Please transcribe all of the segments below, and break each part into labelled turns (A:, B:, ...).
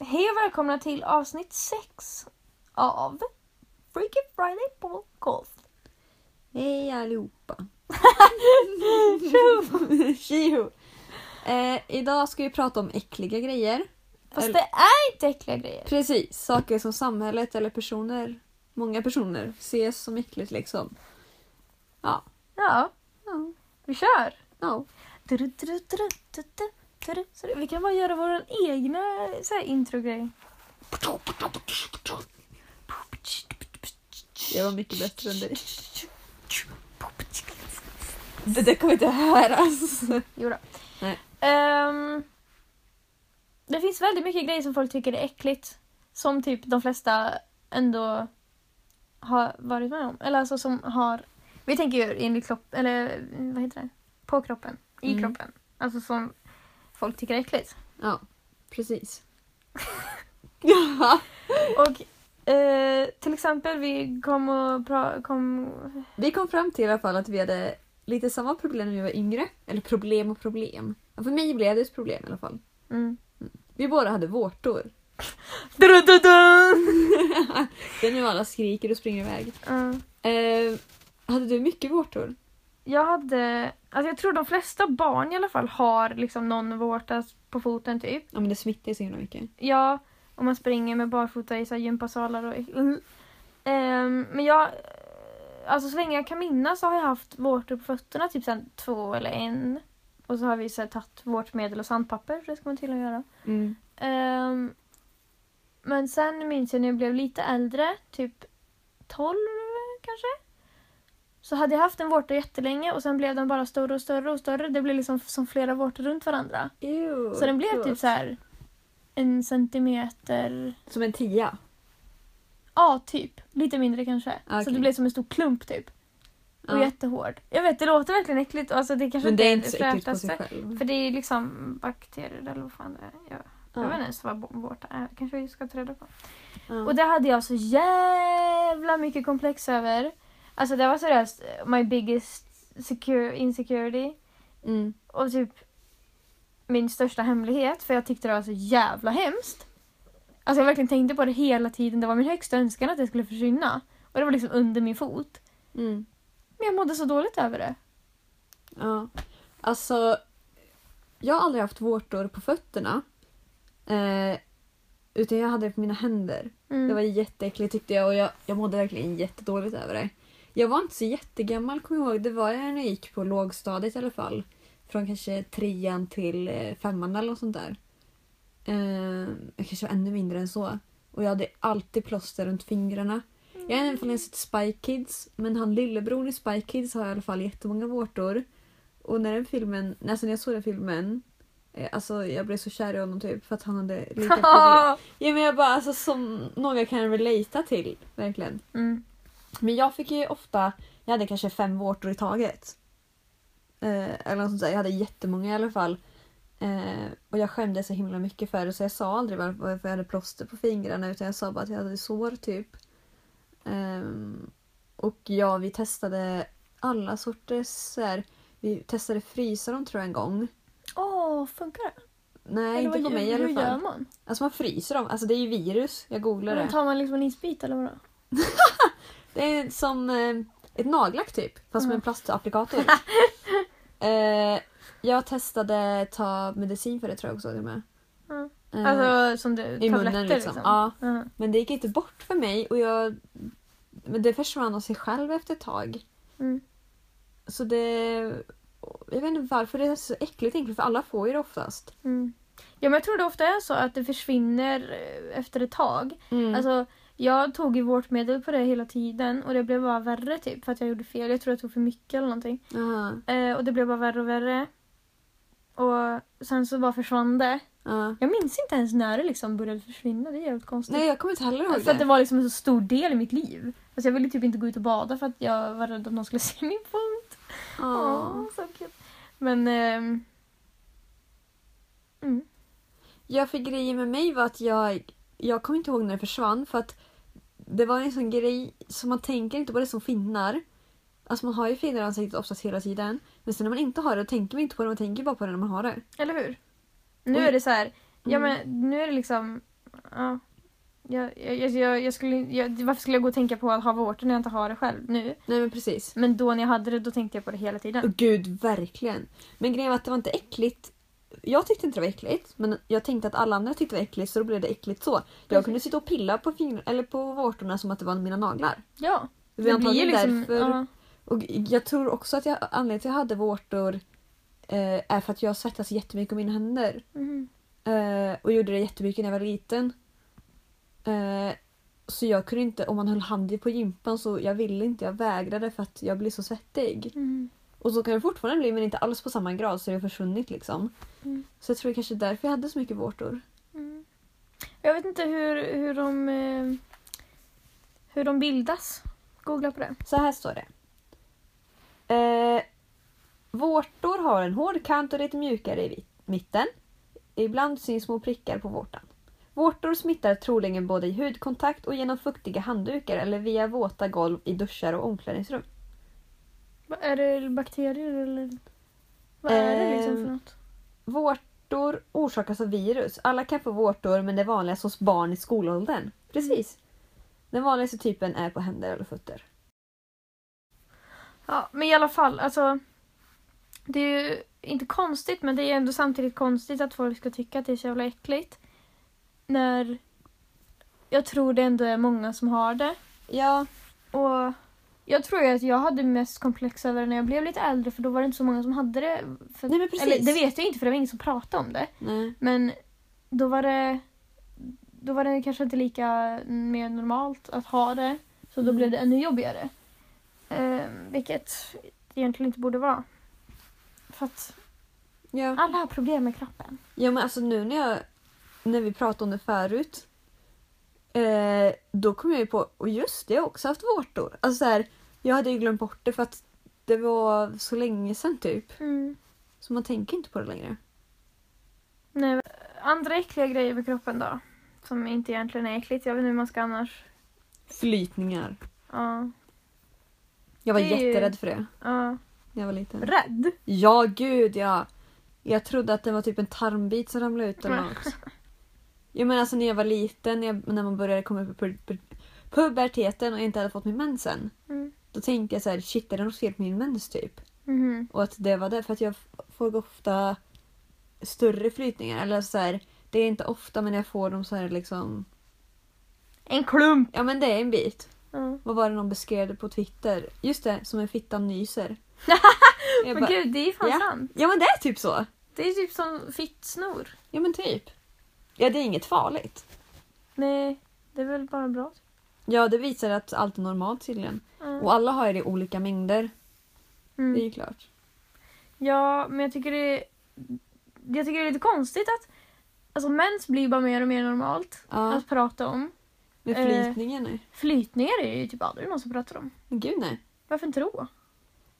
A: Hej och välkomna till avsnitt 6 av Freaky Friday på Golf.
B: Hej allihopa!
A: Tjo!
B: Tjiho! Eh, idag ska vi prata om äckliga grejer.
A: Fast
B: Eller-
A: det är inte äckliga grejer.
B: Precis, saker som samhället eller personer, många personer, ses som äckligt liksom. Ja.
A: Ja,
B: Ja.
A: vi kör!
B: ja.
A: Du, du, du, du, du, du, du, du. Så vi kan bara göra vår egna så här, introgrej.
B: Det var mycket bättre än det. Det där kommer inte höras.
A: Jodå.
B: Nej.
A: Ehm, det finns väldigt mycket grejer som folk tycker är äckligt. Som typ de flesta ändå har varit med om. Eller alltså som har... Vi tänker ju enligt kropp, eller vad heter det? På kroppen. I
B: Mm.
A: kroppen. Alltså som folk tycker är äckligt.
B: Ja, precis. Ja.
A: Och eh, till exempel vi kom och pra- kom...
B: Vi kom fram till i alla fall att vi hade lite samma problem när vi var yngre. Eller problem och problem. Ja, För mig blev det ett problem i alla fall.
A: Mm.
B: Vi båda hade vårtor. Det är nu alla skriker och springer iväg.
A: Ja.
B: Eh, hade du mycket vårtor?
A: Jag hade... Alltså jag tror de flesta barn i alla fall har liksom någon vårta på foten typ.
B: Ja men det smittar ju så himla mycket.
A: Ja, om man springer med barfota i så här gympasalar och... Mm. Ehm, men jag... Alltså så länge jag kan minnas så har jag haft vårtor på fötterna, typ sen två eller en. Och så har vi så här, tagit vårtmedel och sandpapper, för det ska man tydligen göra. Ehm, men sen minns jag när jag blev lite äldre, typ 12 kanske. Så hade jag haft en vårta jättelänge och sen blev den bara större och större och större. Det blev liksom som flera vårtor runt varandra.
B: Ew,
A: Så den blev
B: gross.
A: typ så här en centimeter,
B: Som en tia.
A: ja typ, lite mindre kanske. Så
B: Okej.
A: det blev som en stor klump typ. Och
B: Ja.
A: jättehård. Jag vet, det låter verkligen äckligt. Alltså, det kanske
B: Men det är inte så
A: det
B: äckligt på
A: frätaste.
B: sig själv.
A: För det är liksom bakterier eller vad fan det är. Jag, jag vet inte ens vad bo- vårta är. kanske vi ska ta reda på.
B: Ja.
A: Och det hade jag så jävla mycket komplex över. Alltså det var seriöst my biggest secure insecurity.
B: Mm.
A: Och typ min största hemlighet, för jag tyckte det var så jävla hemskt. Alltså jag verkligen tänkte på det hela tiden. Det var min högsta önskan att det skulle försvinna. Och det var liksom under min fot.
B: Mm.
A: Men jag mådde så dåligt över det.
B: Ja. Alltså, jag har aldrig haft vårtor på fötterna. Eh, utan jag hade det på mina händer.
A: Mm.
B: Det var jätteäckligt tyckte jag och jag, jag mådde verkligen jättedåligt över det. Jag var inte så jättegammal kommer jag ihåg. Det var jag när jag gick på lågstadiet i alla fall. Från kanske trean till eh, femman eller något sånt där. Eh, jag kanske var ännu mindre än så. Och jag hade alltid plåster runt fingrarna. Jag har i alla fall inte sett Spy Kids, men han lillebror i Spy Kids har i alla fall jättemånga vårtor. Och när den filmen, alltså när jag såg den filmen, eh, alltså jag blev så kär i honom typ för att han hade lite problem. Ja men jag bara alltså som några kan relatera till verkligen.
A: mm.
B: Men jag fick ju ofta, jag hade kanske fem vårtor i taget. Eh, eller något sånt där. Jag hade jättemånga i alla fall. Eh, och jag skämdes så himla mycket för det så jag sa aldrig var- varför jag hade plåster på fingrarna utan jag sa bara att jag hade sår typ. Ehm, och ja, vi testade alla sorters så här, Vi testade frysa dem tror jag en gång.
A: Åh, funkar det?
B: Nej,
A: Eller
B: inte på
A: vad-
B: mig i alla
A: Hur gör
B: fall.
A: man?
B: Alltså man fryser dem. Alltså det är ju virus. Jag googlade.
A: Men tar man liksom en isbit eller vadå?
B: Det är som eh, ett nagellack typ, fast
A: Mm.
B: med en plastapplikator. eh, jag testade ta medicin för det tror jag också till och med.
A: Mm.
B: Eh,
A: Alltså som du,
B: I munnen
A: tabletter
B: liksom.
A: liksom?
B: Ja,
A: Mhm.
B: men det gick inte bort för mig och jag... Men det försvann av sig själv efter ett tag.
A: Mm.
B: Så det... Jag vet inte varför det är så äckligt egentligen, för alla får ju det oftast.
A: Mm. Ja men jag tror det ofta är så att det försvinner eh, efter ett tag. Alltså, jag tog ju vårtmedel på det hela tiden och det blev bara värre typ för att jag gjorde fel. Jag tror jag tog för mycket eller någonting.
B: Aha,
A: Eh, och det blev bara värre och värre. Och sen så bara försvann det.
B: ja.
A: Jag minns inte ens när det liksom började försvinna. Det är jävligt konstigt.
B: Nej, jag kommer inte heller ihåg
A: för att det
B: det.
A: var liksom en så stor del i mitt liv. Alltså jag ville typ inte gå ut och bada för att jag var rädd att någon skulle se min fot.
B: Ja.
A: Åh, så kul. Men... ehm, Mm.
B: Jag fick grejen med mig var att jag, jag kommer inte ihåg när det försvann för att det var en sån grej som man tänker inte på det som finnar. Alltså man har ju finnar i ansiktet oftast hela tiden. Men sen när man inte har det tänker man inte på det, man tänker bara på det när man har det.
A: Eller hur? Nu
B: Oj.
A: är det så här, ja
B: Mm.
A: men nu är det liksom Ja. Jag, jag, jag- jag, jag skulle, jag, varför skulle jag gå och tänka på att ha vårtor när jag inte har det själv nu?
B: Nej men precis.
A: Men då när jag hade det, då tänkte jag på det hela tiden.
B: Åh, Gud, verkligen. Men grejen var att det var inte äckligt. Jag tyckte inte det var äckligt, men jag tänkte att alla andra tyckte det var äckligt så då blev det äckligt så. Jag
A: Precis.
B: kunde sitta och pilla på, fingrar, eller på vårtorna som att det var mina naglar.
A: Ja.
B: Det var antagligen därför.
A: liksom- ja.
B: Och jag tror också att jag, anledningen till att jag hade vårtor eh, är för att jag svettas jättemycket på mina händer.
A: Mhm.
B: Eh, och gjorde det jättemycket när jag var liten. Eh, så jag kunde inte, om man höll handen på gympan så jag ville inte, jag vägrade för att jag blev så svettig.
A: Mhm.
B: Och så kan det fortfarande bli men inte alls på samma grad så det har försvunnit liksom.
A: Mm.
B: Så jag tror det kanske är därför jag hade så mycket vårtor.
A: Mm. Jag vet inte hur, hur de eh, hur de bildas. Googla på det.
B: Så här står det. Eh, vårtor har en hård kant och lite mjukare i vit- mitten. Ibland syns små prickar på vårtan. Vårtor smittar troligen både i hudkontakt och genom fuktiga handdukar eller via våta golv i duschar och omklädningsrum.
A: Va- Är det bakterier eller? Vad är det liksom
B: Ehm.
A: för något?
B: Vårtor orsakas av virus. Alla kan få vårtor men det är vanligast hos barn i skolåldern. Precis. Den vanligaste typen är på händer eller fötter.
A: Ja, men i alla fall, alltså. Det är ju inte konstigt, men det är ändå samtidigt konstigt att folk ska tycka att det är så jävla äckligt. När jag tror det ändå är många som har det.
B: Ja,
A: Och jag tror ju att jag hade mest komplex över det när jag blev lite äldre för då var det inte så många som hade det. För,
B: Nej, men precis.
A: Eller, det vet jag inte för det var ingen som pratade om det.
B: nej.
A: Men då var det då var det kanske inte lika mer normalt att ha det. Så då
B: Mm.
A: blev det ännu jobbigare. Eh, vilket det egentligen inte borde vara. För att
B: Ja.
A: alla har problem med kroppen.
B: Ja men alltså nu när, jag, när vi pratade om det förut. Eh, då kom jag ju på, och just det, jag har också haft vårtor. Alltså så här, jag hade ju glömt bort det för att det var så länge sedan typ. Så man tänker inte på det längre.
A: Nej. Andra äckliga grejer med kroppen då? Som inte egentligen är äckligt. Jag vet inte hur man ska annars...
B: Flytningar.
A: Ja.
B: Jag var
A: Det är ju-
B: jätterädd för det
A: ja.
B: när jag var liten.
A: Rädd?
B: Ja gud ja! Jag trodde att det var typ en tarmbit som ramlade ut eller något. Jag menar alltså när jag var liten, när, jag, när man började komma upp i pu- pu- puberteten och jag inte hade fått min mensen.
A: Mm.
B: Då tänkte jag så här, shit är det något fel på min mens typ?
A: Mhm.
B: Och att det var det. För att jag f- får ofta större flytningar. Eller så här, det är inte ofta men jag får dem så här liksom.
A: En klump!
B: Ja men det är en bit.
A: Ja.
B: Vad var det någon beskrev det på Twitter? Just det, som en fitta nyser. Jag
A: Men
B: bara,
A: gud, det är fan
B: ja.
A: sant.
B: ja men det är typ så.
A: Det är typ som fittsnor.
B: Ja men typ. Ja det är inget farligt.
A: Nej, det är väl bara bra.
B: Ja det visar att allt är normalt tydligen.
A: Ja.
B: Och alla har ju det i olika mängder. Det är
A: Mm.
B: ju klart.
A: Ja, men jag tycker det är, jag tycker det är lite konstigt att alltså, mens blir bara mer och mer normalt
B: Ja,
A: att prata om.
B: med
A: Alltså, eh.
B: flytningen nej.
A: Flytningar är ju typ aldrig någon som pratar om.
B: Men gud nej.
A: Varför inte då?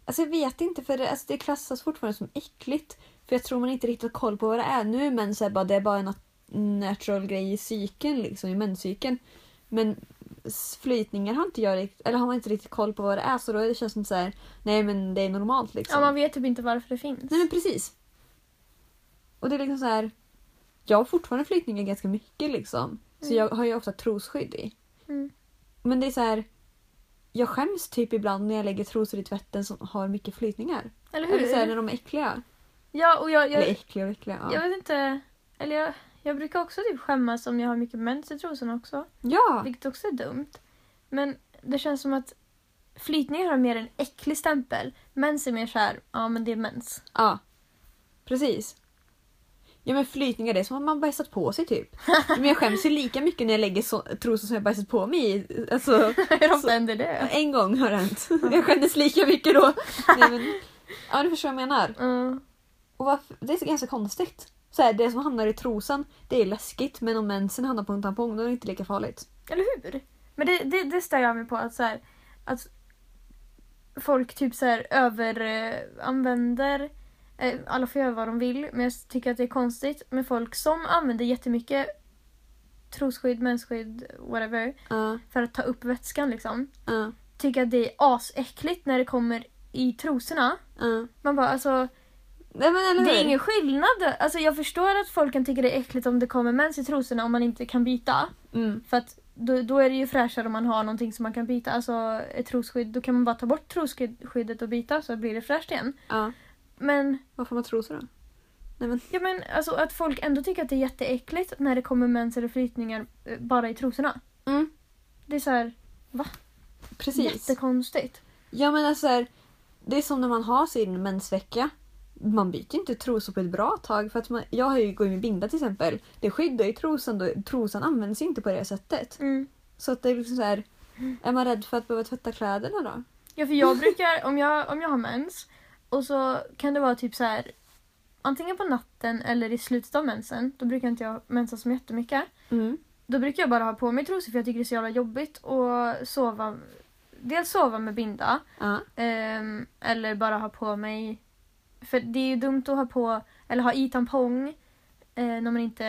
B: Alltså jag vet inte för det, alltså det klassas fortfarande som äckligt. För jag tror man inte riktigt har koll på vad det är nu men så här, bara, det är bara en nat- natural grej i cykeln liksom, i menscykeln. Men s- flytningar har inte jag rikt- eller har man inte riktigt koll på vad det är så då är det känns det så här, nej men det är normalt liksom.
A: Ja, man vet typ inte varför det finns.
B: Nej men precis. Och det är liksom så här, jag har fortfarande flytningar ganska mycket liksom. Så
A: Mm.
B: jag har ju ofta trosskydd i.
A: Mm.
B: Men det är så här, jag skäms typ ibland när jag lägger trosor i tvätten som har mycket flytningar.
A: Eller
B: Eller så är det
A: hur?
B: när de är äckliga.
A: Ja, och jag,
B: Eller
A: jag,
B: äckliga och äckliga. Ja.
A: jag vet inte. Eller jag, jag brukar också typ skämmas om jag har mycket mens i trosorna också.
B: ja.
A: Vilket också är dumt. Men det känns som att flytningar har mer en äcklig stämpel. Mens är mer såhär, ja men det är mens.
B: ja. Precis. Ja men flytningar det är som om man bajsat på sig typ. Men jag skäms ju lika mycket när jag lägger så, trosor som jag bajsat på mig i. Alltså,
A: Hur ofta händer det?
B: en gång har det hänt. Jag skämdes lika mycket då. Nej, men, ja du förstår vad jag menar.
A: Ja.
B: Och varför, det är så ganska konstigt. Så här, det som hamnar i trosan det är läskigt men om mensen hamnar på en tampong då är det inte lika farligt.
A: eller hur? Men det, det, det stör jag mig på att, så här, att folk typ så här överanvänder eh, alla får göra vad de vill, men jag tycker att det är konstigt med folk som använder jättemycket trosskydd, mensskydd, whatever,
B: Ja,
A: för att ta upp vätskan liksom.
B: ja,
A: tycker att det är asäckligt när det kommer i trosorna.
B: ja.
A: Man bara alltså,
B: Nej, men, eller
A: Det är
B: hur?
A: ingen skillnad. Alltså jag förstår att folk kan tycka det är äckligt om det kommer mens i trosorna om man inte kan byta.
B: Mm.
A: För att då, då är det ju fräschare om man har någonting som man kan byta. Alltså ett trosskydd. Då kan man bara ta bort trosskyddet och byta så blir det fräscht igen.
B: Ja.
A: Men,
B: Varför har man trosor då?
A: ja men alltså att folk ändå tycker att det är jätteäckligt när det kommer mens eller flytningar eh, bara i trosorna.
B: Mm.
A: Det är så här
B: Precis.
A: jättekonstigt.
B: Ja men alltså här, det är som när man har sin mensvecka. Man byter ju inte trosor på ett bra tag. För att man, jag har ju går ju med binda till exempel. Det skyddar ju trosan. Då, trosan används ju inte på det sättet.
A: Mm.
B: Så att det är liksom så här. Är man rädd för att behöva tvätta kläderna då?
A: Ja för jag brukar, om jag, om jag har mens och så kan det vara typ så här antingen på natten eller i slutet av mensen, då brukar inte jag mensa så jättemycket. Då brukar jag bara ha på mig trosor för jag tycker det är så jävla jobbigt att sova. Dels sova med binda
B: Ja.
A: ehm, eller bara ha på mig. För det är ju dumt att ha på eller ha i tampong eh, när man inte,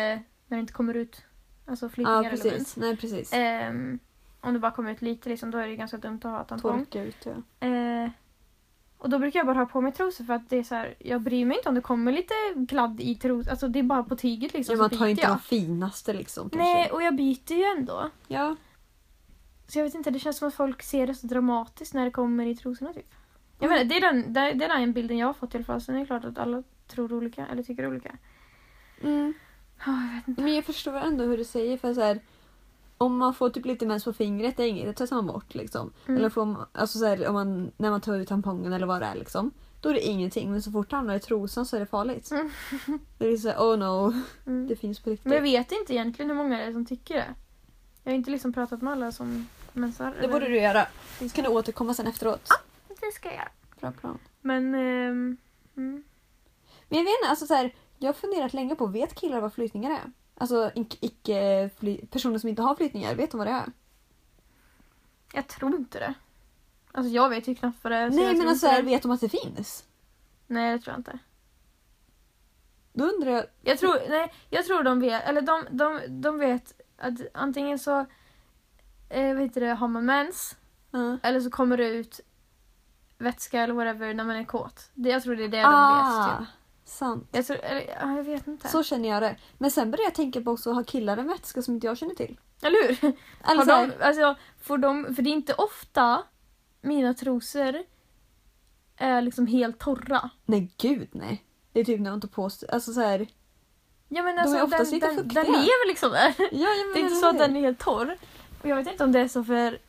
A: när det inte kommer ut alltså flytningar eller
B: ja
A: mens.
B: precis. Nej precis.
A: Ehm, om det bara kommer ut lite liksom, då är det ju ganska dumt att ha tampong.
B: Torka ut ja.
A: Eh, och då brukar jag bara ha på mig trosor för att det är så här, jag bryr mig inte om det kommer lite gladd i trosor. Alltså det är bara på tyget liksom.
B: ja
A: så
B: man tar
A: byter
B: inte
A: jag.
B: de finaste liksom kanske.
A: Nej, och jag byter ju ändå.
B: Ja.
A: Så jag vet inte, det känns som att folk ser det så dramatiskt när det kommer i trosorna typ. Jag
B: Mm.
A: menar, det är den, det är det är den bilden jag har fått i alla fall. Sen är det klart att alla tror olika eller tycker olika.
B: Mm.
A: Ja, jag vet inte.
B: Men jag förstår ändå hur du säger. För så här, om man får typ lite mens på fingret, det är inget, det tar man bort. Liksom.
A: Mm.
B: Eller får man, alltså så här, om man, när man tar ut tampongen eller vad det är. Liksom, då är det ingenting. Men så fort det hamnar i trosan så är det farligt.
A: Mm.
B: det är så här, oh no,
A: Mm.
B: det finns på riktigt.
A: Men jag vet inte egentligen hur många det är som tycker det. Jag har inte liksom pratat med alla som mensar.
B: det borde
A: eller-
B: du göra. Så kan du återkomma sen efteråt.
A: Det ska jag göra.
B: Bra plan.
A: Men... ehm, mm.
B: Men jag vet inte, alltså så här, jag har funderat länge på, vet killar vad flytningar är? Alltså ic- icke, fly, personer som inte har flytningar, vet de vad det är?
A: Jag tror inte det. Alltså jag vet ju knappt vad det är. så jag
B: Nej men
A: tror
B: alltså
A: inte
B: här,
A: det.
B: vet de att det finns?
A: Nej det tror jag inte.
B: Då undrar jag,
A: Jag tror, nej, jag tror de vet, eller de, de, de vet att antingen så eh, vad heter det, har man mens
B: ja.
A: eller så kommer det ut vätska eller whatever när man är kåt. Det, jag tror det är det de vet.
B: ah,
A: Typ.
B: sant.
A: Jag, tror, eller, ja, jag vet inte.
B: Så känner jag det. Men sen började jag tänka på också, har killar en vätska som inte jag känner till?
A: Eller hur?
B: Eller
A: Har
B: så här,
A: de, alltså, får de, för det är inte ofta mina trosor är liksom helt torra.
B: Nej gud nej. Det är typ när man tar på sig, alltså så här.
A: Ja, men
B: är
A: alltså,
B: oftast
A: den,
B: lite
A: den,
B: fuktiga.
A: den lever liksom där.
B: Ja, jag
A: Det är inte så att den är helt torr. Och jag vet inte om det är så för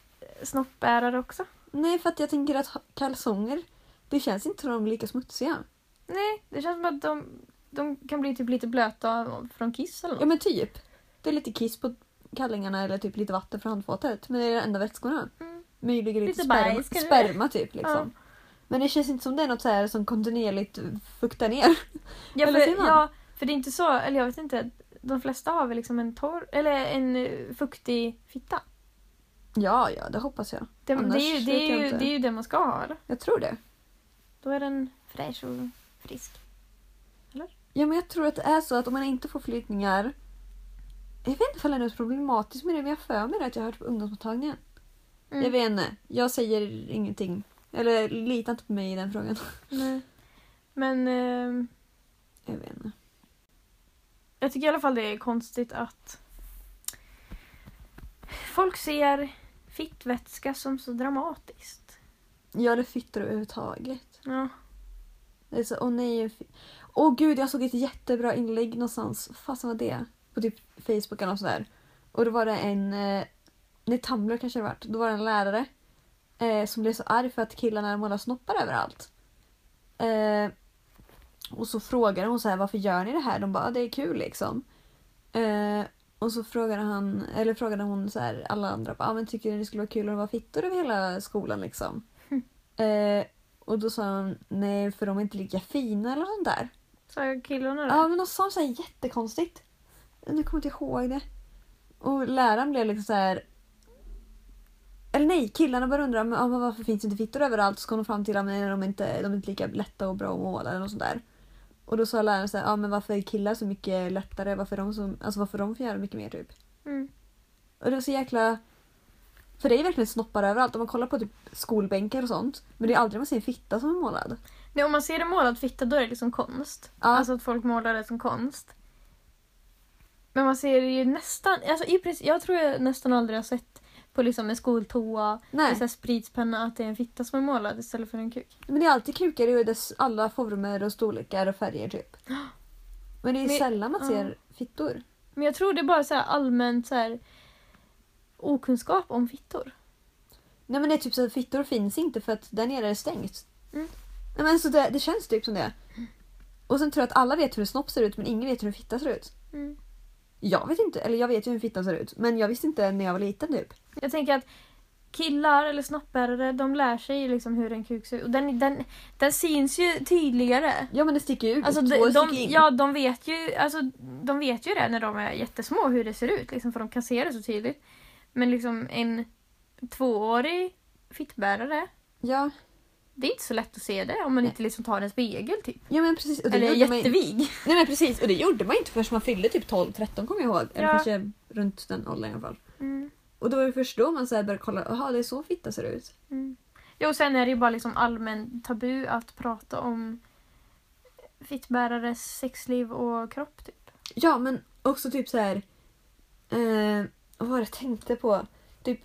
A: snoppbärare också.
B: Nej för att jag tänker att ha- kalsonger, det känns inte som de är lika smutsiga.
A: Nej, det känns som att de, de kan bli typ lite blöta från kiss eller
B: Ja
A: något.
B: men typ. Det är lite kiss på kallingarna eller typ lite vatten från handfatet. Men det är de enda vätskorna.
A: Mm.
B: Möjligen lite,
A: Lite
B: sperma,
A: bajs, kanske.
B: sperma typ liksom. Men det känns inte som det är något så här som kontinuerligt fuktar ner.
A: Ja,
B: eller ser
A: för,
B: man?
A: ja, för det är inte så, eller jag vet inte. De flesta har väl liksom en torr, eller en eh, fuktig fitta.
B: Ja, ja det hoppas jag.
A: Det,
B: Annars
A: det, är, ju, det,
B: vet jag
A: är ju,
B: inte.
A: det är ju det man ska ha. eller?
B: Jag tror det.
A: Då är den fräsch och frisk.
B: Ja men jag tror att det är så att om man inte får flyttningar jag vet inte om det är något problematiskt med det, men jag har för mig det att jag har hört på ungdomsmottagningen.
A: Mm.
B: Jag vet inte. Jag säger ingenting. Eller lita inte på mig i den frågan.
A: Nej. Men eh,
B: Jag vet inte.
A: jag tycker i alla fall det är konstigt att folk ser fittvätska som så dramatiskt.
B: Jag hade fittor överhuvudtaget.
A: Ja.
B: Det är så, åh nej. fi- Åh gud, jag såg ett jättebra inlägg någonstans. Fasen var det? På typ Facebook eller något sådär. Och då var det en, eh, nej Tumblr kanske det vart. Då var det en lärare eh, som blev så arg för att killarna målar snoppar överallt. Eh, och så frågade hon så här, varför gör ni det här? De bara, "Ah, det är kul liksom. Eh, och så frågade, han, eller frågade hon så här, alla andra, ah, men tycker ni det skulle vara kul om det var fittor över hela skolan liksom? Eh, och då sa han nej för de är inte lika fina eller sånt där.
A: Sa killarna det?
B: Ja men de sa så här jättekonstigt. Nu kommer jag inte ihåg det. Och läraren blev liksom så här. Eller nej, killarna började undra men, ja, men varför finns det inte fittor överallt? Så kom de fram till att men de, är inte, de är inte lika lätta och bra att måla eller något sånt där. Och då sa läraren så här, ja men varför är killar så mycket lättare? Varför de, så, alltså, varför de får göra mycket mer typ?
A: Mm.
B: Och det är så jäkla... För det är verkligen snoppar överallt. Om man kollar på typ skolbänkar och sånt. Men det är aldrig man ser en fitta som är målad.
A: Nej, om man ser det målad fitta då är det liksom konst.
B: Ja.
A: Alltså att folk målar det som konst. Men man ser det ju nästan, alltså i princip, jag tror jag nästan aldrig har sett på liksom en skoltoa,
B: Nej,
A: en sån här spritspenna, att det är en fitta som är målad istället för en kuk.
B: men det är alltid kukar i dess alla former och storlekar och färger typ. Men det är
A: Men-
B: sällan man
A: ja.
B: ser fittor.
A: Men jag tror det är bara så här allmänt så här okunskap om fittor.
B: Nej men det är typ så att fittor finns inte för att där nere är det stängt.
A: Mm.
B: Nej men så det, det känns typ som det. Och sen tror jag att alla vet hur en snopp ser ut men ingen vet hur en fitta ser ut.
A: Mm.
B: Jag vet inte, eller jag vet ju hur en fitta ser ut men jag visste inte när jag var liten typ.
A: Jag tänker att killar eller snoppbärare, de lär sig liksom hur en kuk ser ut. Och den, den, den syns ju tydligare.
B: Ja men det sticker ju ut.
A: Alltså
B: och
A: de,
B: det
A: de,
B: sticker in.
A: ja, de, vet ju, alltså, de vet ju det när de är jättesmå hur det ser ut, liksom, för de kan se det så tydligt. Men liksom en tvåårig fittbärare,
B: ja.
A: det är inte så lätt att se det om man
B: Nej.
A: inte liksom tar en spegel typ.
B: Ja, men precis. Och det
A: Eller
B: gjorde man, ju-
A: jättevig.
B: nej men precis och det gjorde man inte förrän man fyllde typ 12-13 kommer jag ihåg. Eller
A: Ja.
B: kanske runt den åldern i alla fall.
A: Mm,
B: Och då var det först då man så här började kolla, jaha det är så fitta ser ut.
A: mm. Jo, sen är det ju bara liksom allmän tabu att prata om fittbärares sexliv och kropp typ.
B: Ja, men också typ så här. Eh, vad var det jag tänkte på? Typ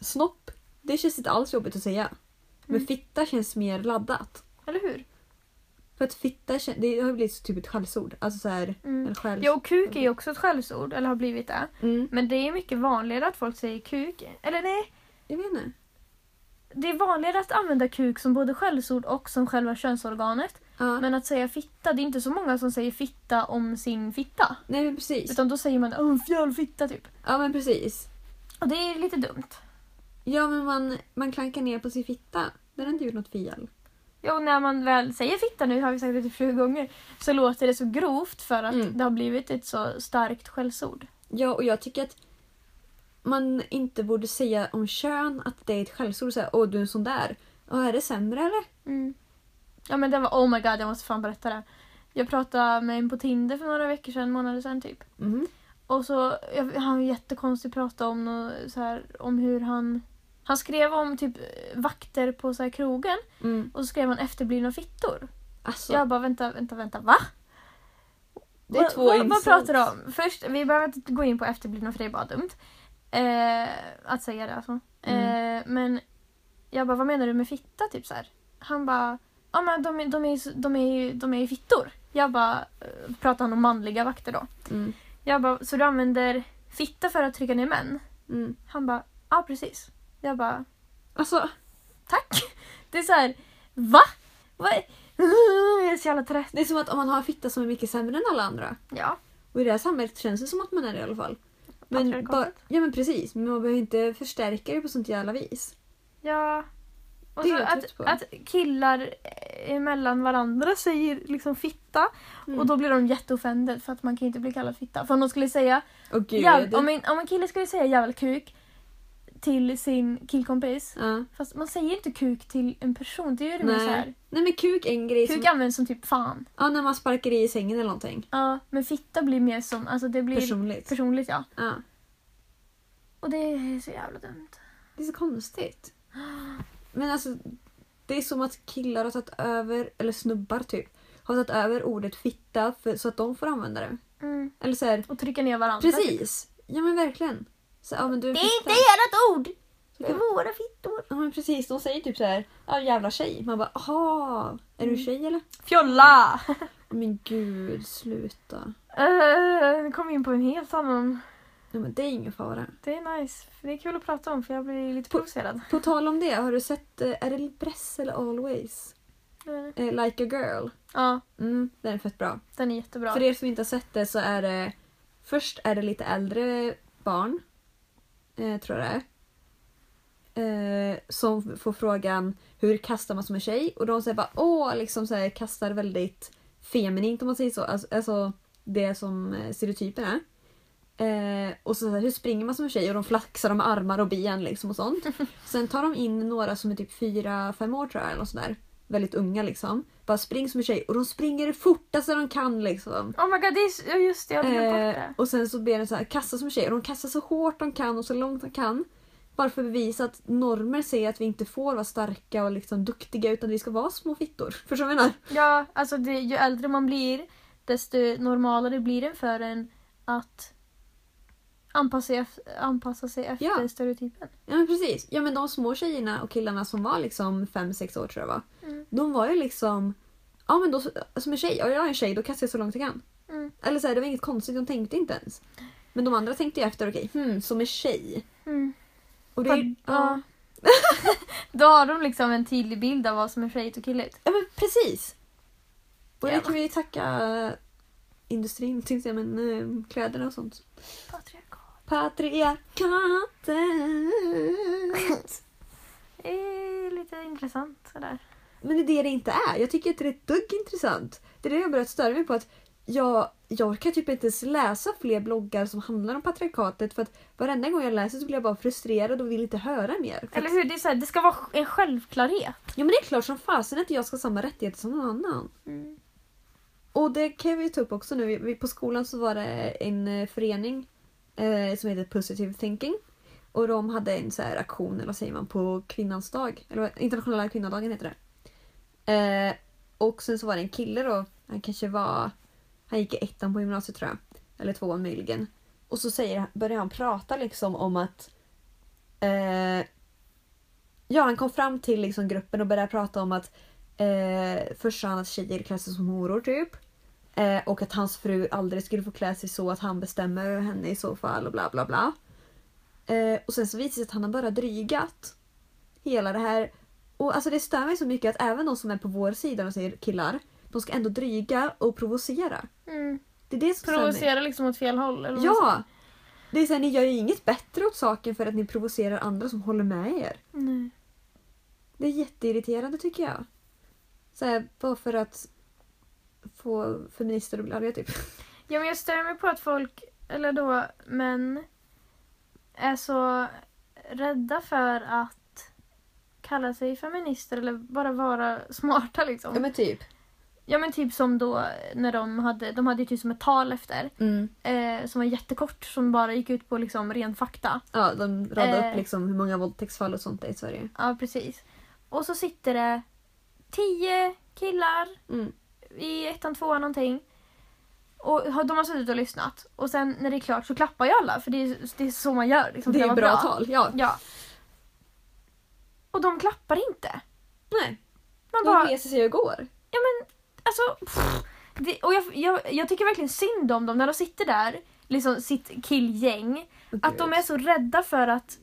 B: snopp. Det känns inte alls jobbigt att säga. Men
A: Mm.
B: fitta känns mer laddat.
A: Eller hur?
B: För att fitta kän- det har ju blivit så typ ett skällsord. Alltså så här,
A: Mm.
B: eller skälls.
A: Jo, kuk är ju också ett skällsord, eller har blivit det.
B: Mm.
A: Men det är mycket vanligare att folk säger kuk. Eller nej,
B: Jag vet inte.
A: Det är vanligare att använda kuk som både skällsord och som själva könsorganet.
B: Ja.
A: Men att säga fitta, det är inte så många som säger fitta om sin fitta.
B: Nej men precis.
A: Utan då säger man "Åh, en fjöl fitta typ.
B: Ja men precis.
A: Och det är lite dumt.
B: Ja men man, man klankar ner på sin fitta. Den har inte gjort något fel.
A: Jo, när man väl säger fitta nu, har vi sagt det typ sju gånger, så låter det så grovt för att
B: Mm.
A: det har blivit ett så starkt skällsord.
B: Ja och jag tycker att man inte borde säga om kön att det är ett skällsord. Såhär, åh du är en sån där. Åh, är det sämre eller?
A: Mm. Ja men det var, oh my god, jag måste fan berätta det. här. Jag pratade med en på Tinder för några veckor sedan, månader sedan typ.
B: Mm.
A: Och så, jag, han var jättekonstig prata om nå- så här, om hur han... Han skrev om typ eh, vakter på så här krogen
B: Mm.
A: och så skrev han efterblivna fittor.
B: Alltså.
A: Jag bara vänta, vänta, vänta, va?
B: Det är
A: Vad-
B: två
A: vad, vad
B: insults.
A: pratar du om? Först, vi behöver inte gå in på efterblivna för det är bara dumt. Eh, att säga det alltså.
B: Mm.
A: Eh, men jag bara, vad menar du med fitta? Typ så här. Han bara, ja men de, är- de, är, ju- de, är, ju- de är ju fittor. Jag bara, eh, pratar han om manliga vakter då.
B: Mm.
A: Jag bara, så du använder fitta för att trycka ner män?
B: Mm.
A: Han bara, ja precis. Jag bara,
B: Alltså,
A: tack! Det är så här, va? Vad är- Jag är så jävla trött.
B: det är som att om man har en fitta som är mycket sämre än alla andra.
A: Ja,
B: Och i det här samhället känns det som att man är det i alla fall. Men bara,
A: Patriarkatet.
B: ja men precis, men man behöver inte förstärka det på sånt jävla vis.
A: ja. Och
B: Det är
A: så
B: jag
A: att,
B: trött på.
A: att killar eh, mellan varandra säger liksom fitta
B: Mm.
A: och då blir de jätteoffended för att man kan ju inte bli kallad fitta. För om de skulle säga,
B: Och gud.
A: jäv, om, en, om en kille skulle säga jävla kuk till sin killkompis,
B: ja.
A: fast man säger inte kuk till en person, det är ju det mer
B: Nej.
A: så här.
B: Nej men kuk är en grej
A: Kuk
B: som,
A: används som typ fan.
B: ja, när man sparkar i sängen eller någonting.
A: Ja, men fitta blir mer som, alltså det blir personligt,
B: Personligt.
A: ja.
B: Ja.
A: Och det är så jävla dumt.
B: Det är så konstigt. Men alltså, det är som att killar har tagit över, eller snubbar typ, har tagit över ordet fitta för, så att de får använda det.
A: Mm.
B: Eller så här,
A: Och trycka ner varandra. Typ
B: precis! Ja men verkligen. Så, ja, men du är en
A: Det
B: fitta.
A: är inte ert ord! Det
B: Ja.
A: är våra fittor.
B: Ja men precis, de säger typ så här, ja jävla tjej. Man bara, aha, är
A: Mm.
B: du tjej eller?
A: Fjolla!
B: Men gud, sluta.
A: Eh, Nu kom vi in på en helt annan.
B: Ja, men det är ingen fara.
A: Det är nice. För Det är kul att prata om för jag blir lite provocerad.
B: På tal om det, har du sett, eh, är det Bress eller Always?
A: Eh,
B: Eh, like a girl.
A: Ja,
B: Mm, den är fett bra.
A: den är jättebra.
B: För er som inte har sett det så är det, först är det lite äldre barn, eh, tror jag det är. Eh, som får frågan hur kastar man som en tjej? Och de säger bara åh, liksom så här, kastar väldigt feminint om man säger så. Alltså, alltså det som eh, stereotypen är. Eh, och så, så här, hur springer man som en tjej? Och de flaxar om armar och ben liksom och sånt. Sen tar de in några som är typ fyra fem år tror jag eller något sånt där. Väldigt unga liksom. Bara spring som en tjej och de springer det fortaste de kan liksom.
A: Oh my god, det är... s- ja, just det. Jag hade glömt bort
B: Eh,
A: det.
B: och sen så ber de så här, kasta som en tjej och de kastar så hårt de kan och så långt de kan. Bara för att bevisa att normer säger att vi inte får vara starka och liksom duktiga utan vi ska vara små fittor. Förstår du vad jag menar?
A: Ja, alltså det, ju äldre man blir desto normalare blir det för en att anpassa sig, ef- anpassa sig efter
B: Ja.
A: stereotypen.
B: Ja men precis. Ja men de små tjejerna och killarna som var liksom 5-6 år tror jag var.
A: Mm.
B: De var ju liksom, ja men då, som en tjej, ja jag är en tjej då kastar jag så långt jag kan.
A: Mm.
B: Eller så här, det var inget konstigt, de tänkte inte ens. Men de andra tänkte ju efter, okej, hmm, som en tjej.
A: Mm.
B: Och det,
A: Fan,
B: är-
A: ja. Då har de liksom en tydlig bild av vad som är tjejigt och killigt.
B: Ja men precis! Och det
A: Ja.
B: kan vi tacka industrin, tänkte jag, men eh, kläderna och sånt.
A: Patriarkat.
B: Patriarkatet!
A: Det är lite intressant sådär.
B: Men det är det det inte är. Jag tycker inte det är ett dugg intressant. Det är det jag börjat störa mig på. att jag, jag orkar typ inte ens läsa fler bloggar som handlar om patriarkatet för att varenda gång jag läser så blir jag bara frustrerad och vill inte höra mer. För att-
A: Eller hur? Det, är så här, det ska vara en självklarhet.
B: Ja men det är klart som fasen att jag ska ha samma rättigheter som någon annan.
A: Mm.
B: Och det kan vi ju ta upp också nu. Vi- På skolan så var det en eh, förening eh, som heter Positive Thinking. Och de hade en så här aktion, eller vad säger man, på kvinnans dag. Eller vad- internationella kvinnodagen heter det. Eh, och sen så var det en kille då. Han kanske var... Han gick i ettan på gymnasiet tror jag. Eller tvåan möjligen. Och så säger, börjar han prata liksom om att... Eh, ja, han kom fram till liksom gruppen och började prata om att Eh, först sa han att tjejer klär sig som horor typ. Eh, och att hans fru aldrig skulle få klä sig så att han bestämmer över henne i så fall och bla bla bla. Eh, och sen så visar det sig att han har bara drygat hela det här. Och alltså det stör mig så mycket att även de som är på vår sida, de säger killar, de ska ändå dryga och provocera.
A: Mm.
B: Det är det som stör mig.
A: Provocera liksom åt fel håll. Eller vad man
B: Ja! Det är så här, ni gör ju inget bättre åt saken för att ni provocerar andra som håller med er.
A: säger. Nej.
B: Det är jätteirriterande tycker jag. Så här, bara för att få feminister att bli arga typ.
A: Ja men jag stör mig på att folk, eller då män, är så rädda för att kalla sig feminister eller bara vara smarta liksom. Ja men,
B: typ.
A: typ som då när de hade, de hade ju typ som ett tal efter
B: Mm.
A: eh, som var jättekort som bara gick ut på liksom ren fakta.
B: Ja, de radar upp
A: Eh.
B: liksom hur många våldtäktsfall och sånt det är i Sverige.
A: Ja precis. Och så sitter det tio killar
B: Mm.
A: i ettan, tvåan någonting. Och har- de har suttit och lyssnat. Och sen när det är klart så klappar ju alla för det är, det är så man gör. Liksom, för
B: Det är
A: var
B: bra, tal. Ja.
A: Ja. Och de klappar inte.
B: Nej,
A: Man
B: de
A: bara,
B: reser sig och går.
A: ja men alltså. Pff, det, och jag, jag, jag tycker verkligen synd om dem när de sitter där, liksom sitt killgäng. Att de är så rädda för att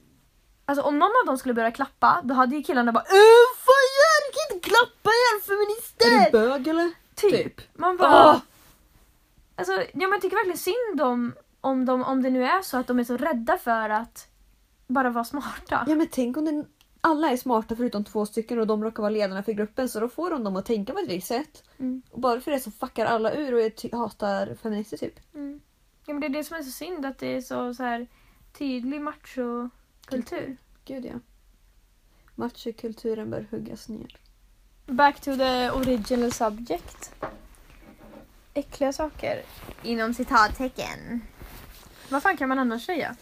A: Alltså om någon av dem skulle börja klappa, då hade ju killarna bara Öh, fan gör ni? Kan inte klappa er
B: Är du
A: feminister!
B: bög eller?
A: Typ. Man bara...
B: Åh!
A: Alltså, ja, men jag tycker verkligen synd om, om, de, om det nu är så att de är så rädda för att bara vara smarta.
B: Ja men tänk om den... alla är smarta förutom två stycken och de råkar vara ledarna för gruppen så då får de dem att tänka på ett visst sätt.
A: Mm.
B: Och bara för det så fuckar alla ur och jag ty- hatar feminister typ.
A: Mm. Ja, men det är det som är så synd, att det är så, så här, tydlig machokultur.
B: Gud ja. Machokulturen bör huggas ner.
A: Back to the original subject. Äckliga saker. Inom citattecken. Vad fan kan man annars säga?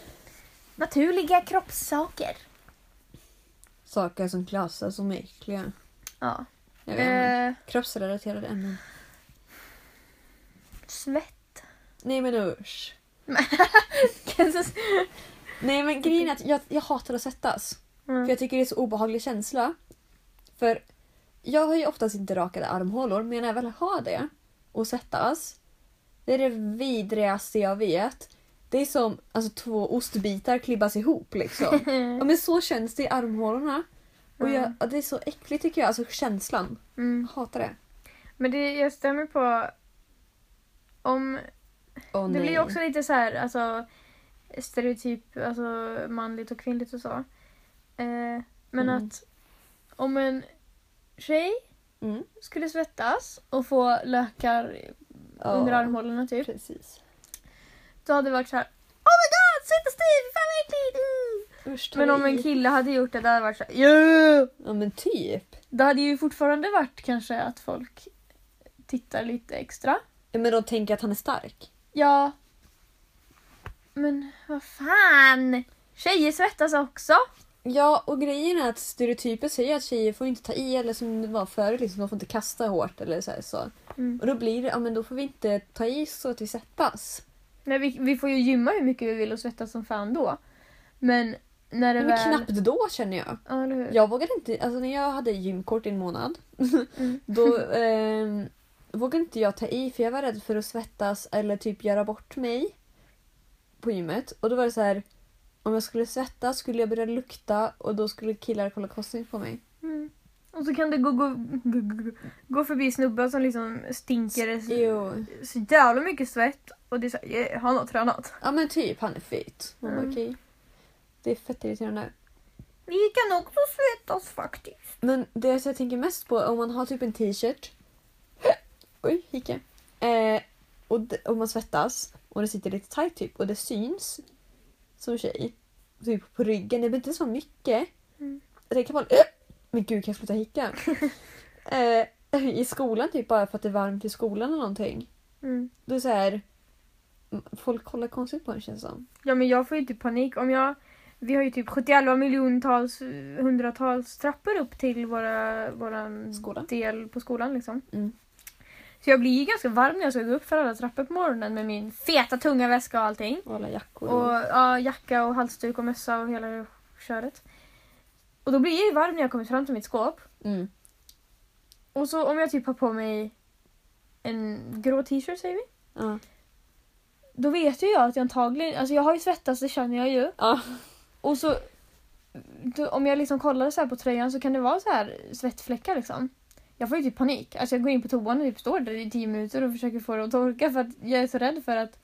A: Naturliga kroppssaker.
B: Saker som klassas som äckliga.
A: Ja.
B: Jag vet inte.
A: Eh,
B: Kroppsrelaterade ämnen.
A: svett.
B: Nej men usch.
A: mm.
B: Nej men grejen är att jag, jag hatar att svettas.
A: Mm.
B: För jag tycker det är så obehaglig känsla. För jag har ju oftast inte rakade armhålor men när jag väl har det och svettas. Det är det vidrigaste jag vet. Det är som alltså, två ostbitar klibbas ihop liksom. Ja men så känns det i armhålorna. Och jag,
A: Mm.
B: ja, det är så äckligt tycker jag, alltså känslan.
A: Mm.
B: Jag hatar det.
A: Men det, jag stämmer på om
B: Åh,
A: Det blir ju
B: nej.
A: också lite så här, alltså stereotyp, alltså manligt och kvinnligt och så. Eh, men
B: Mm.
A: att om en tjej
B: Mm.
A: skulle svettas och få lökar
B: Ja,
A: under armhålorna typ,
B: Precis.
A: då hade det varit så här Oh my god, svettas du? Fan vad äckligt! Mm.
B: Usch, ta
A: Men om
B: i.
A: en kille hade gjort det, då hade det varit så här yeah!
B: Ja men typ.
A: Då hade ju fortfarande varit kanske att folk tittar lite extra.
B: Ja, men de tänker att han är stark.
A: Ja. Men vad fan! Tjejer svettas också.
B: Ja, och grejen är att stereotyper säger att tjejer får inte ta i eller som det var förut, liksom, de får inte kasta hårt eller så. Här, så.
A: Mm.
B: Och då blir det, ja men då får vi inte ta i så att vi svettas.
A: Men vi, vi får ju gymma hur mycket vi vill och svettas som fan då. Men när det
B: Men
A: väl...
B: knappt då känner jag.
A: Ja, eller hur?
B: Jag vågade inte, alltså när jag hade gymkort i en månad,
A: Mm.
B: då eh, vågade inte jag ta i för jag var rädd för att svettas eller typ göra bort mig på gymmet. Och då var det så här, om jag skulle svettas skulle jag börja lukta och då skulle killar kolla konstigt på mig.
A: Mm. Och så kan det gå, gå, gå, gå, gå förbi snubbar som liksom stinker så,
B: Jo.
A: så jävla mycket svett. Och det är såhär, yeah, han har tränat.
B: Ja men typ, han är fet. Man bara
A: Mm.
B: okej. Det är fett irriterande.
A: Vi kan också svettas faktiskt.
B: Men det jag tänker mest på, om man har typ en t-shirt. Oj, gick jag. Eh, och, d- och man svettas och det sitter lite tight typ och det syns som tjej. Typ på ryggen, det blir inte så mycket.
A: Mm.
B: Det kan vara... Men gud, kan jag sluta hicka? eh, I skolan typ, bara för att det är varmt i skolan eller någonting.
A: Mm.
B: Då är det så här... Folk kollar konstigt på en känns det som.
A: Ja men jag får ju typ panik om jag... Vi har ju typ 71 miljontals, eh, hundratals trappor upp till våra, våran
B: Skola.
A: del på skolan liksom.
B: Mm.
A: Så jag blir ju ganska varm när jag ska gå upp för alla trappor på morgonen med min feta tunga väska och allting.
B: Och alla jackor.
A: Och ja, jacka och halsduk och mössa och hela köret. Och då blir jag ju varm när jag kommer fram till mitt skåp.
B: Mm.
A: Och så om jag typ har på mig en grå t-shirt säger vi.
B: Ja.
A: Då vet ju jag att jag antagligen, alltså jag har ju svettats det känner jag ju.
B: Ja.
A: Och så då, om jag liksom kollar så här på tröjan så kan det vara så här svettfläckar liksom. Jag får ju typ panik. Alltså jag går in på toan och typ står där i tio minuter och försöker få det att torka för att jag är så rädd för att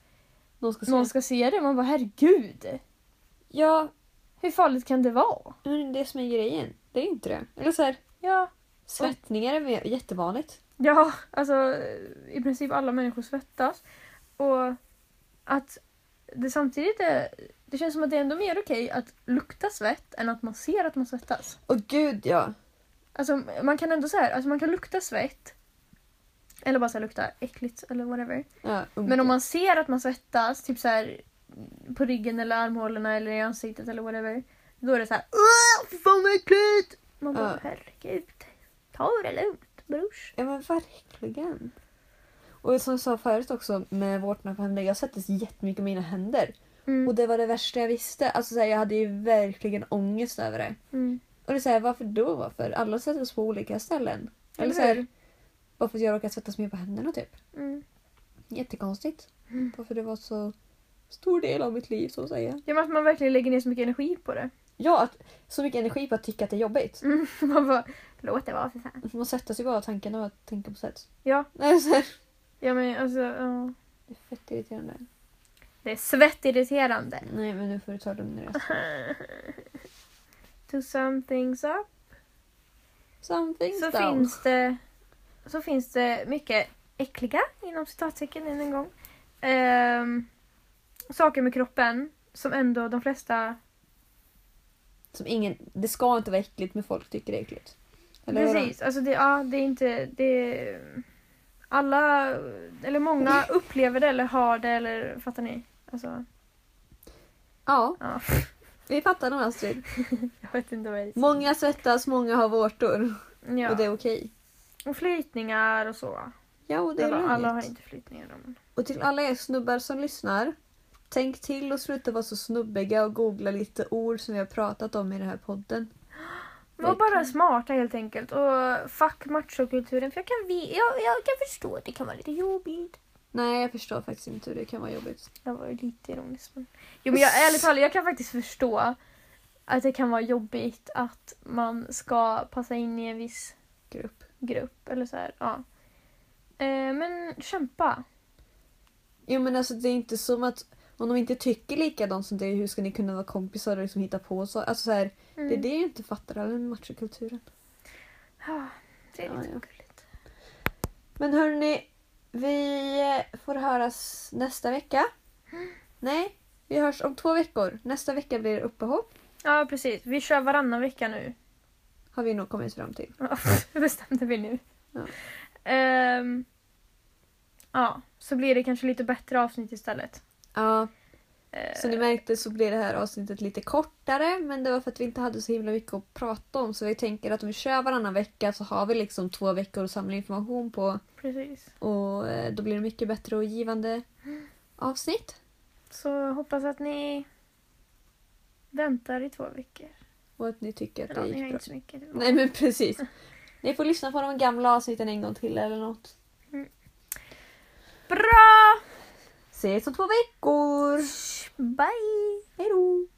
B: Någon ska se.
A: någon ska se det. Man bara herregud,
B: Ja,
A: hur farligt kan det vara?
B: men det är som är grejen. Det är inte det. Eller så här,
A: Ja,
B: svettningar är mer- jättevanligt.
A: Ja, alltså i princip alla människor svettas. Och att det samtidigt är, det känns som att det är ändå mer okej att lukta svett än att man ser att man svettas.
B: Åh gud ja.
A: Alltså man kan ändå så här, alltså man kan lukta svett. Eller bara så här, lukta äckligt eller whatever.
B: ja
A: Men om man ser att man svettas, typ så här på ryggen eller armhålorna eller i ansiktet eller whatever. Då är det så här "Åh, fy fan vad äckligt! Man bara
B: Ja.
A: herregud, ta det lugnt brors.
B: Ja men verkligen. Och som jag sa förut också med vårtorna på händer. Jag svettas jättemycket med mina händer.
A: Mm,
B: Och det var det värsta jag visste. Alltså så här, jag hade ju verkligen ångest över det.
A: mm.
B: Och det är så här, varför då? Varför? Alla svettas på olika ställen. Eller så
A: hur?
B: här, bara för att jag råkar svettas mer på händerna typ.
A: Mm.
B: Jättekonstigt. Varför det var så stor del av mitt liv så att säga.
A: Ja, men att man verkligen lägger ner så mycket energi på det.
B: Ja, att, så mycket energi på att tycka att det är jobbigt.
A: Man bara, låt det vara för fan.
B: Man sätter sig bara av tanken av att tänka på sätt.
A: Ja,
B: Nej, så här.
A: ja men alltså, ja.
B: Det är fett irriterande.
A: Mm. Det är svettirriterande.
B: Nej, men nu får du ta det lugnare.
A: To sum things up.
B: Something
A: Så
B: down.
A: finns, det, så finns det mycket äckliga, inom citattecken än en gång, ehm, saker med kroppen som ändå de flesta...
B: Som ingen, det ska inte vara äckligt, men folk tycker det är äckligt. Eller hur?
A: precis, alltså det, ja, det är inte... Det, alla, eller många upplever det eller har det eller fattar ni? Alltså,
B: Ja,
A: ja.
B: vi fattar nog Astrid.
A: Jag vet inte vad jag säger.
B: Många svettas, många har vårtor.
A: Ja.
B: Och det är okej.
A: Och flytningar och så.
B: Ja, och det är
A: Eller,
B: lugnt.
A: alla har inte flytningar. då, Men...
B: Och till alla er snubbar som lyssnar. Tänk till och sluta vara så snubbiga och googla lite ord som vi har pratat om i den här podden.
A: Var bara smarta helt enkelt. Och fuck machokulturen. För jag kan, vi... jag, jag kan förstå att det kan vara lite jobbigt.
B: Nej, jag förstår faktiskt inte hur det kan vara jobbigt.
A: Jag var ju lite ironisk. Men... Jo men jag, ärligt talat, jag kan faktiskt förstå att det kan vara jobbigt att man ska passa in i en viss
B: Grupp.
A: grupp. Eller så här, ja. Eh, men kämpa.
B: Jo men alltså det är inte som att om de inte tycker likadant som dig, hur ska ni kunna vara kompisar och liksom hitta på så? Alltså så här,
A: Mm.
B: Det är det jag inte fattar av den machokulturen.
A: Ja, Ah, det är lite
B: Ja, ja.
A: gulligt.
B: Men hörni, vi eh, får höras nästa vecka. Nej, vi hörs om två veckor. Nästa vecka blir det uppehåll,
A: Ja precis. Vi kör varannan vecka nu.
B: har vi nog kommit fram till.
A: Ja, det bestämde vi nu.
B: Ja.
A: Ehm, ja, så blir det kanske lite bättre avsnitt istället.
B: Ja,
A: Ehm,
B: Som ni märkte så blev det här avsnittet lite kortare men det var för att vi inte hade så himla mycket att prata om så vi tänker att om vi kör varannan vecka så har vi liksom två veckor att samla information på
A: Precis.
B: och eh, då blir det mycket bättre och givande avsnitt.
A: Så hoppas att ni väntar i två veckor.
B: Och att ni tycker att
A: Ja, ni
B: det
A: har
B: gick bra.
A: inte så mycket. till-
B: Nej men precis. Ni får lyssna på de gamla avsnitten en gång till eller något.
A: Bra!
B: Ses om två veckor!
A: Bye!
B: Hej då!